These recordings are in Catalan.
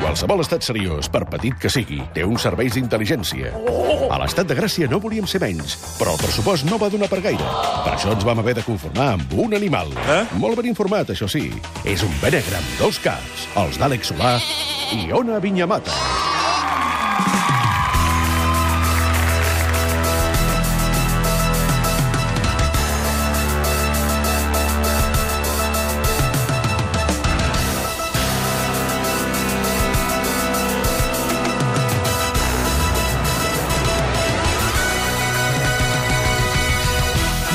Qualsevol estat seriós, per petit que sigui, té uns serveis d'intel·ligència. A l'estat de Gràcia no volíem ser menys, però el pressupost no va donar per gaire. Per això ens vam haver de conformar amb un animal. Eh? Molt ben informat, això sí. És un benegre amb dos caps, els d'Àlex Solà i Ona Vinyamata.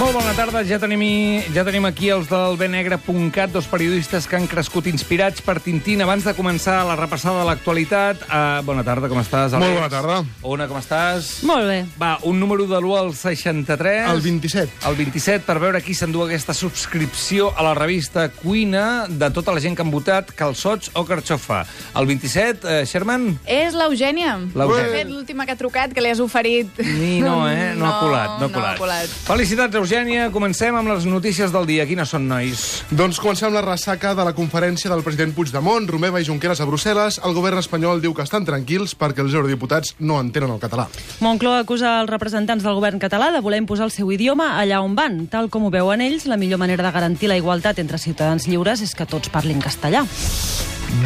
Molt bona tarda, ja tenim, i- ja tenim aquí els del benegre.cat, dos periodistes que han crescut inspirats per Tintín. Abans de començar la repassada de l'actualitat, uh, bona tarda, com estàs, Àlex? Molt bona tarda. Ona, com estàs? Molt bé. Va, un número de l'1 al 63. El 27. El 27, per veure qui s'endú aquesta subscripció a la revista Cuina de tota la gent que han votat calçots o carxofa. El 27, eh, Sherman? És l'Eugènia. L'Eugènia. De fet, l'última que ha trucat, que li has oferit... Ni no, eh? No, ha colat, no ha colat. No ha colat. Felicitats, Eugènia. Comencem amb les notícies del dia. Quines són, nois? Doncs comencem amb la ressaca de la conferència del president Puigdemont, Romeva i Junqueras a Brussel·les. El govern espanyol diu que estan tranquils perquè els eurodiputats no entenen el català. Moncloa acusa els representants del govern català de voler imposar el seu idioma allà on van. Tal com ho veuen ells, la millor manera de garantir la igualtat entre ciutadans lliures és que tots parlin castellà.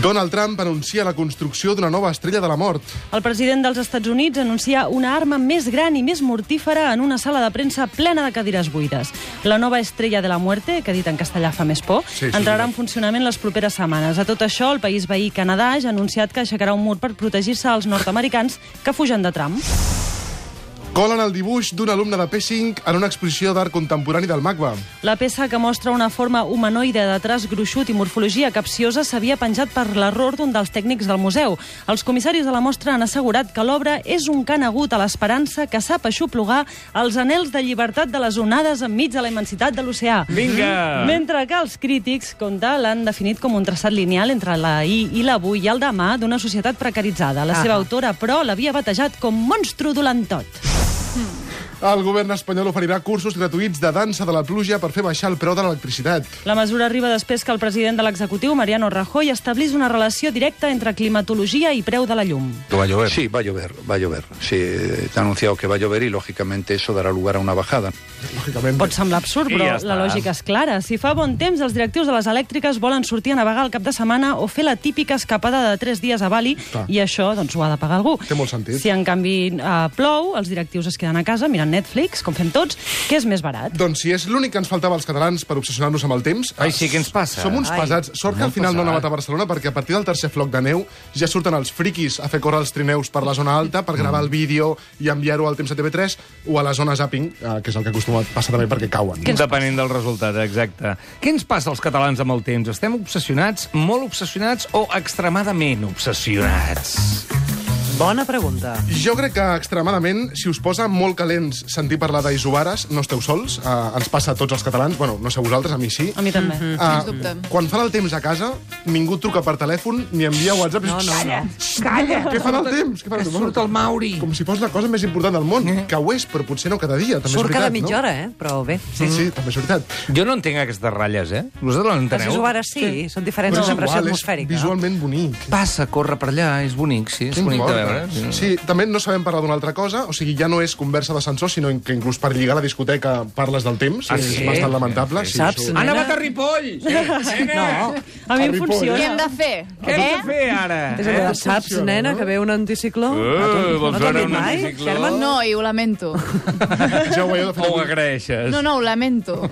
Donald Trump anuncia la construcció d'una nova estrella de la mort. El president dels Estats Units anuncia una arma més gran i més mortífera en una sala de premsa plena de cadires buides. La nova estrella de la muerte, que dit en castellà fa més por, Sí, sí, entrarà sí. en funcionament les properes setmanes. A tot això, el país veí Canadà ja ha anunciat que aixecarà un mur per protegir-se als nord-americans que fugen de Trump. Colen el dibuix d'un alumne de P5 en una exposició d'art contemporani del MACBA. La peça que mostra una forma humanoide de traç gruixut i morfologia capciosa s'havia penjat per l'error d'un dels tècnics del museu. Els comissaris de la mostra han assegurat que l'obra és un cant agut a l'esperança que sap aixoplugar els anells de llibertat de les onades enmig de la immensitat de l'oceà. Vinga! Mentre que els crítics, compte, l'han definit com un traçat lineal entre la i i l'avui i el demà d'una societat precaritzada. La seva autora, però, l'havia batejat com monstru dolentot. El govern espanyol oferirà cursos gratuïts de dansa de la pluja per fer baixar el preu de l'electricitat. La mesura arriba després que el president de l'executiu, Mariano Rajoy, establís una relació directa entre climatologia i preu de la llum. Sí, va a llover, va a llover. Sí, eh, ha anunciado que va a llover y lógicamente eso dará lugar a una bajada. Lògicament. Pot semblar absurd, I però ja ja està. la lògica és clara. Si fa bon temps, els directius de les elèctriques volen sortir a navegar el cap de setmana o fer la típica escapada de 3 dies a Bali, Clar. i això doncs, ho ha de pagar algú. Té molt sentit. Si, en canvi, eh, plou, els directius es queden a casa mirant Netflix, com fem tots, que és més barat. Doncs si és l'únic que ens faltava als catalans per obsessionar-nos amb el temps... Ai, sí, què ens passa? Som uns Ai, pesats. Sort que al molt final no pesat. ha anat a Barcelona perquè a partir del tercer floc de neu ja surten els friquis a fer córrer els trineus per la zona alta per Mm. gravar el vídeo i enviar-ho al temps de TV3 o a la zona zapping, eh, que és el que acostuma a passar també perquè cauen. Què ens Depenent del resultat, exacte. Què ens passa als catalans amb el temps? Estem obsessionats, molt obsessionats o extremadament obsessionats? Bona pregunta. Jo crec que extremadament, si us posa molt calents sentir parlar d'Isobares, no esteu sols, eh, ens passa a tots els catalans, bueno, no sé vosaltres, a mi sí. A mi també. Ah, Sens dubte. quan fan el temps a casa, ningú truca per telèfon ni envia WhatsApp. No, no, no. Calla! Què fan el temps? Què fan el temps? Surt el Mauri. Com si fos la cosa més important del món, que ho és, però potser no cada dia. També Surt és veritat, cada mitja no? hora, eh? Però bé. Sí, sí, també és veritat. Jo no entenc aquestes ratlles, eh? Vosaltres Les l'enteneu? isobares sí, sí, són diferents Però de és pressió igual, atmosfèrica. És visualment bonic. Passa, corre per allà, és bonic, sí, és Què bonic de importa? veure. Sí. Sí, també no sabem parlar d'una altra cosa, o sigui, ja no és conversa d'ascensor, sinó que inclús per lligar a la discoteca parles del temps, Ah, és sí? bastant lamentable. Sí, Saps? això- Ha Nena. nevat a Ripoll! Sí. No, A mi em Harry Potter. funciona. Què hem de fer? Eh? Què hem de fer, ara? és allò, Eh, de, saps, nena, que ve un anticicló? Eh, vols no t'ho han veure dit un mai? anticicló? Sherman, no. No, i ho lamento. Ja ho veieu, de fet, O ho avui- agraeixes? No, no, ho lamento.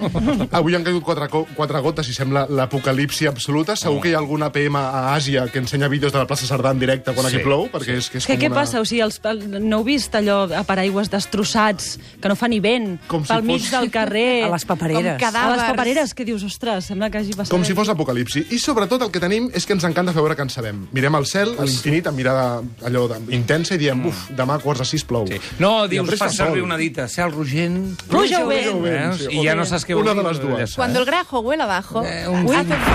Avui han caigut quatre, co- quatre gotes i sembla l'apocalipsi absoluta. Segur que hi ha alguna PM a Àsia que ensenya vídeos de la plaça Cerdà en directe quan Sí, aquí plou, perquè és que és És que com què una... passa? O sigui, els, el, no heu vist allò a paraigües destrossats, que no fa ni vent, Com si pel mig fos- del carrer... A les papereres. Com a cadàvers. les papereres, que dius, ostres, sembla que hagi passat... Com si fos l'apocalipsi. I sobretot el que tenim és que ens encanta fer veure que en sabem. Mirem al cel, a l'infinit, amb mirada allò de, intensa i diem, uf, demà a quarts de sis plou. Mm. Sí. No, I dius, després fa sol. servir una dita, cel rogent... Pluja Pluja o o vent! vent, Veus? sí. I ja no saps què Una vol de les dir, dues. ja està, Cuando eh? el grajo huele abajo, Eh, eh, un un carajo.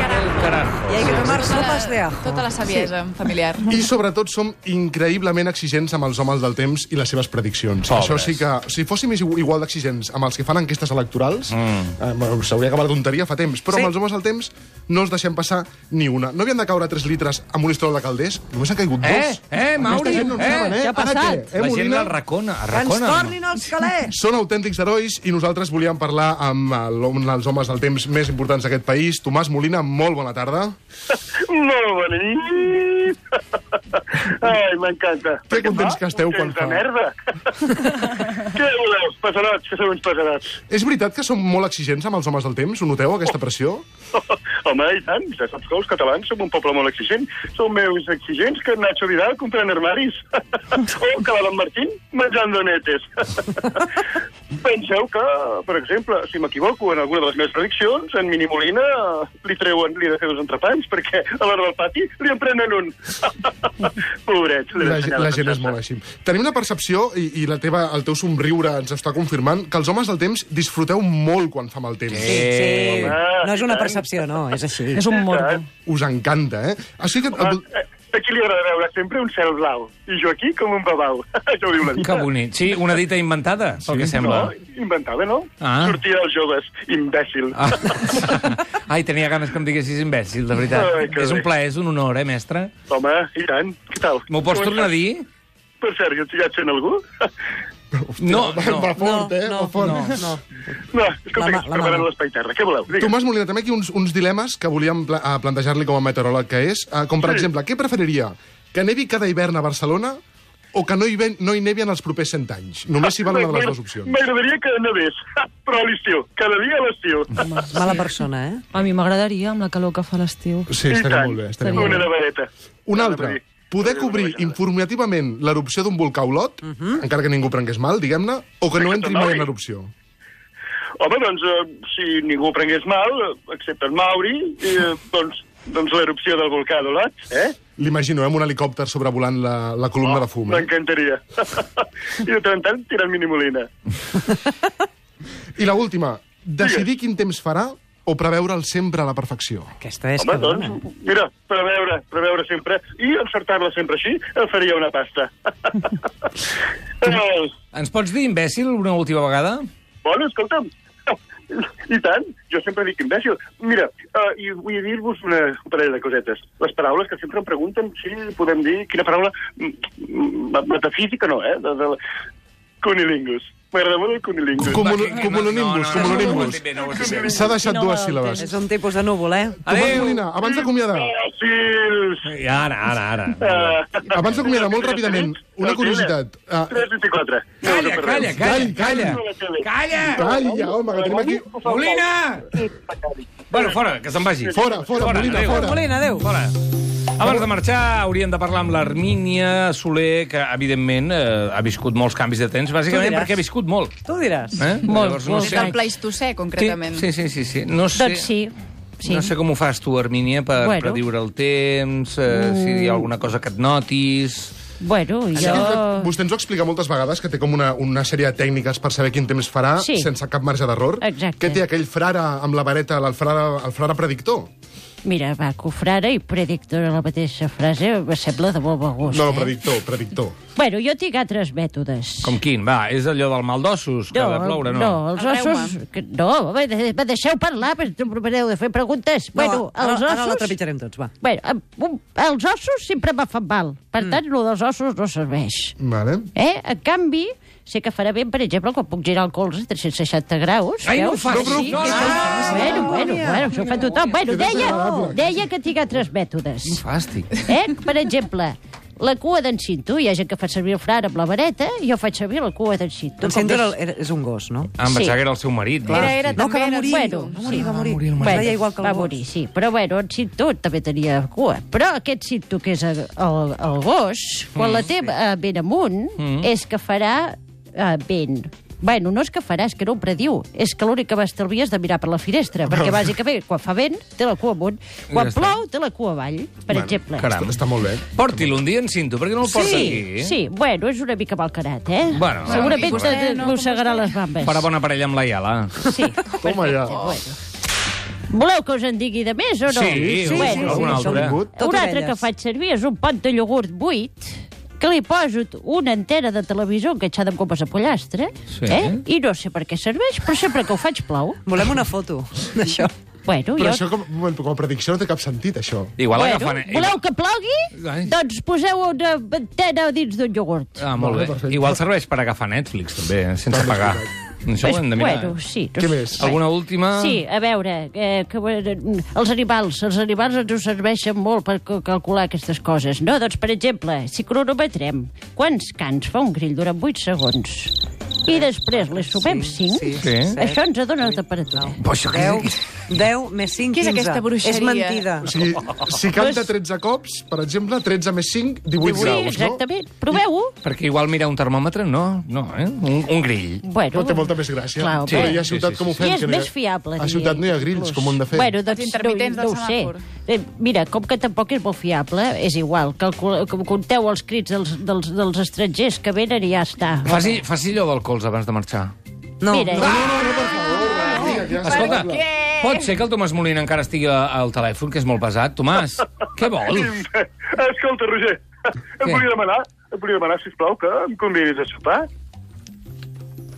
carajo. carajo. Y hay que tomar Tota la- sopas de ajo. Tota la saviesa sí. familiar. I sobretot som increïblement exigents amb els homes del temps i les seves prediccions. Pobres. Això sí que, si fóssim igu- igual d'exigents amb els que fan enquestes electorals, mm. eh, s'hauria acabat la tonteria fa temps, però sí. amb els homes del temps no els deixem passar ni una. No havien de caure 3 litres amb un listrol de calders, només han caigut Eh, dos. eh, Mauri, Aquesta gent no en eh, saben, eh? què ha Ara passat? Què? Eh, La gent Molina? del racona, Que ens arracona. tornin els calés! Són autèntics herois i nosaltres volíem parlar amb eh, l'home- els homes del temps més importants d'aquest país. Tomàs Molina, molt bona tarda. Molt bona nit! Ai, m'encanta. Que contents que esteu quan quan fa. fa. merda! Què voleu? Passarots, que sou uns passarots. És veritat que som molt exigents amb els homes del temps? Ho noteu, aquesta pressió? Home, i tant, ja saps que els catalans som un poble molt exigent. Sou meus exigents que Nacho Vidal comprant armaris. o que l'Alan Martín menjant donetes. Penseu que, per exemple, si m'equivoco en alguna de les meves prediccions, en Mini Molina eh, li treuen, li he de fer dos entrepans, perquè a l'hora del pati li en prenen un. Pobrets, l'he La, d'ensenyar la a gent és defensar-se. molt així. Tenim una percepció, i, i la teva, el teu somriure ens està confirmant, que els homes del temps disfruteu molt quan fa mal temps. Sí, sí. home, No és una i tant. percepció, no, és així. És un morbo. tant. Us encanta, eh? Així que... Ah, eh, Aquí li agrada veure sempre un cel blau. I jo aquí com un babau. Això ho diu la vida. Que bonic. Sí, una dita inventada, pel que sembla. No, inventava, no? Ah. Sortia als joves, imbècil. Ah. Ai, tenia ganes que em diguessis imbècil, de veritat. Ai, que és un bé. plaer, és un honor, eh, mestre? Home, i tant, què tal? M'ho pots Com tornar a estàs? dir? Per cert, ja et- ja et sent algú? No, Va, va no. fort, eh? no, va fort. no, no. No, La escolta, que mà- estic la preparant mà. l'espai terra. Què voleu? Digue'm. Tomàs Molina, també aquí uns, uns dilemes que volíem pla eh, plantejar-li com a meteoròleg que és, eh, com per Sí. exemple, què preferiria? Que nevi cada hivern a Barcelona o que no hi, ven, no hi nevi en els propers 100 anys? Només hi va una de les dues opcions. M'agradaria que nevés, però a l'estiu. Cada dia a l'estiu. Home, Mala persona, eh? A mi m'agradaria amb la calor que fa l'estiu. Sí, I estaria tant. molt bé. Estaria molt Una bé. nevareta. Un Nevareta. altre, poder Una cobrir nevejada. informativament l'erupció d'un volcà a Olot, encara que ningú prengués mal, diguem-ne, o que no Perquè entri tothom mai en hi- erupció. Home, doncs, eh, si ningú ho prengués mal, eh, excepte en Mauri, eh, doncs, doncs l'erupció del volcà d'Olot, eh? L'imagino, eh, amb un helicòpter sobrevolant la, la columna de fum. Eh? M'encantaria. I de tant en tant tirant mini molina. I la última, decidir quin temps farà o preveure'l sempre a la perfecció. Aquesta és Home, cabrona. doncs, mira, preveure, preveure sempre, i encertar-la sempre així, em faria una pasta. eh, Ens pots dir imbècil una última vegada? bueno, escolta'm, i tant, jo sempre dic imbècil. Mira, eh, i vull dir-vos una un parell de cosetes. Les paraules que sempre em pregunten si podem dir quina paraula... mm, mm, Metafísica no, eh? De, de... Cunilingus. M'agrada molt el cunilingus. Com- cumulonimbus, cumulonimbus. S'ha deixat No, dues no, síl·labes. És un tipus de núvol, eh? Tomàs Adéu. Molina, abans d'acomiadar, Imbècils! I ara, ara, ara. Eh, Abans d'acomiadar, molt ràpidament, una curiositat. Ah. 324. Calla, calla, calla, calla. Calla. Calla! Calla, home, que tenim aquí... Molina! Bueno, fora, que se'n vagi. Fora, fora, Molina, adéu. fora. Molina, adéu. Fora. Abans de marxar, hauríem de parlar amb l'Armínia Soler, que, evidentment, eh, ha viscut molts canvis de temps, bàsicament diràs. perquè ha viscut molt. Tu ho diràs. Eh? Molt, molt. Des del Pleistocè, concretament. Sí, sí, sí, sí. No sé... Doncs sí. sí. No sé com ho fas tu, Armínia, per bueno. Bueno. prediure el temps, eh, si hi ha alguna cosa que et notis... Bueno, Sí, jo... Vostè ens ho explica moltes vegades, que té com una, una sèrie de tècniques per saber quin temps farà Sí. sense cap marge d'error. Exacte. Què té aquell frare amb la vareta, el frare, el frare predictor? Mira, va, cofrara i predictora la mateixa frase, me sembla de molt bon gust. No, no, eh? predictor, predictor. Bueno, jo tinc altres mètodes. Com quin? Va, és allò del mal d'ossos, que ha de ploure, no? no, els Arreu-me. ossos... Que, no, me, me deixeu parlar, però no provareu de fer preguntes. bueno, no, ara, els ara la ossos... trepitjarem tots, va. Bueno, em- un- els ossos sempre m'ha fet mal. Per tant, mm. lo dels ossos no serveix. Vale. Eh? En canvi, sé que farà ben, per exemple, quan puc girar el colze a 360 graus. Ai, no ho veus? facis! No, no, no, no. Bueno, bueno, bueno, això ho fa tothom. Bueno, Que deia, desagradable. deia que tinc altres mètodes. Fàstic. Eh? Per exemple, la cua d'en Cinto, hi ha gent que fa servir el frare amb la vareta, jo faig servir la cua d'en Cinto. Doncs Sindra era, és un gos, no? Ah, em Sí. pensava que era el seu marit. Era, era, No, també que va era morir. bueno, va morir, va morir. morir el Bueno, deia igual que el va gos. morir, sí. Però bueno, en Cinto també tenia cua. Però aquest Cinto, que és el, el, el gos, quan mm. la té eh, ben amunt, mm. és que farà eh, ben... Bueno, no és que farà, és que no ho prediu. És que l'únic que m'estalvia és de mirar per la finestra, perquè bàsicament quan fa vent té la cua amunt, quan Ja està. plou té la cua avall, per Bueno, exemple. caram. Està, està molt bé. Porti-lo un dia en cinto, perquè no el porta aquí. Sí, sí, bueno, és una mica malcarat, eh? eh? Bueno, Segurament bueno. bueno, Vostè, te no, mossegarà com vostè. les bambes. Farà bona parella amb la Iala. Sí, Toma ja. bueno. Voleu que us en digui de més o no? Sí, sí, bueno, sí, alguna som altra. gut. Tot un altre orelles. que faig servir és un pot de iogurt buit que li poso una entera de televisor enganxada amb copes de pollastre, Sí. eh? i no sé per què serveix, però sempre que ho faig plau. Volem una foto d'això. Bueno, Però jo... això com, un moment, com a predicció no té cap sentit, això. Igual Bueno, agafen... voleu que plogui? eh, Ai. Doncs poseu una antena dins d'un iogurt. Ah, molt Vale, bé. perfecte. Igual serveix per agafar Netflix, també, eh? sense pagar. Això ho hem de mirar. eh? Bueno, sí. Què més? Alguna última? Sí, a veure, eh, que, eh, els animals, els animals ens ho serveixen molt per ca- calcular aquestes coses, no? Doncs, per exemple, si cronometrem quants cants fa un grill durant 8 segons i després li sumem 5, sí, Sí. set, això ens adona la temperatura. Però això què 10, 10 més 5, Què 15. és aquesta bruixeria? És mentida. O sigui, si canta 13 cops, per exemple, 13 més 5, 18 Sí, graus, no? exactament. Proveu-ho. Perquè igual mirar un termòmetre, no, no, eh? Un, un grill. Bueno, Però té molta més gràcia. Clar, sí, però home. hi ha ciutat Sí, sí, com ho sí. fem. I és que no hi ha- més fiable, A ciutat no hi ha diria, grills, inclús. com ho hem de fer? Bueno, doncs, Els intermitents no, del no ho sé. semàfor. Eh, mira, com que tampoc és molt fiable, és igual. Calcula, com compteu els crits dels, dels, dels estrangers que venen i ja està. Faci, faci allò del cols abans de marxar. No, Mira, no. Escolta, què? pot ser que el Tomàs Molina encara estigui a- al telèfon, que és molt pesat. Tomàs, què vols? Eh, Escolta, Roger, et Què? volia demanar, et volia demanar, sisplau, que em convidis a sopar.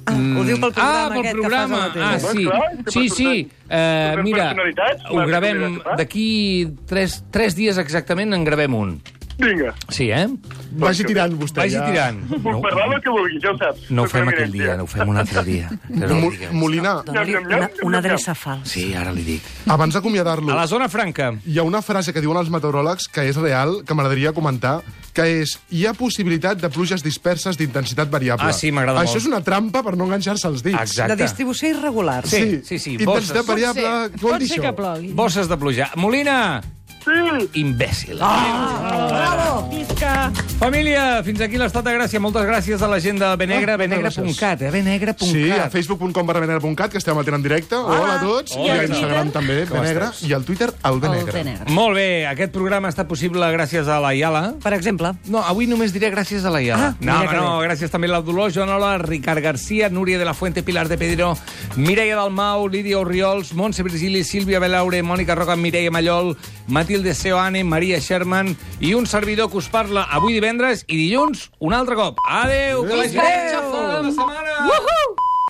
Ah, ho diu pel programa Ah, pel aquest programa. que fas a Ah, la tele. sí. Clar, que Sí, per sí. portar- Eh, portar mira, personalitats, ho m'has gravem convidat, va? d'aquí tres, tres dies exactament, en gravem un. Vinga, Sí, eh? Vagi tirant, vostè. Vagi ja. tirant. puc No, parlar del que vulguis, ja ho saps. no ho Sóc fem una aquell dia, eminència. no ho fem un altre dia. Però Mo- digue'm. Molinar, Dóna-li Nyam, nyam, una, nyam, una nyam, adreça falsa. Sí, ara li dic. abans d'acomiadar-lo, A la zona franca. hi ha una frase que diuen els meteoròlegs que és real, que m'agradaria comentar, que és, hi ha possibilitat de pluges disperses d'intensitat variable. Ah, sí, m'agrada molt. Això és una trampa per no enganxar-se als dits. Exacte. De distribució irregular. Sí, sí, sí. Bosses. Intensitat variable, què vol pot dir ser això? que plogui. Bosses de pluja. Molina, Sí, imbècil. Ah, bravo! Família, fins aquí l'estat de Gràcia. Moltes gràcies a la gent de Benegra, Ah, benegra.cat, eh? benegra.cat. Sí, a facebook.com barra Benegra puncat, que estem emetent en directe. Hola, a tots. Hola. I a Instagram també, Com Benegra. estàs? I al Twitter, el Benegra. Molt bé, aquest programa està possible gràcies a la Iala. Per exemple, No, avui només diré gràcies a la Iala. Ah, no, mira home, que no, gràcies també a la Dolors, Joan Ola, Ricard Garcia, Núria de la Fuente, Pilar de Pedro, Mireia Dalmau, Lídia Oriols, Montse Virgili, Sílvia Belaure, Mònica Roca, Mireia Mallol, Matilde Seoane, Maria Sherman i un servidor que us parla avui divendres i dilluns un altre cop. Adeu, que vagi bé. Bona setmana. Woohoo!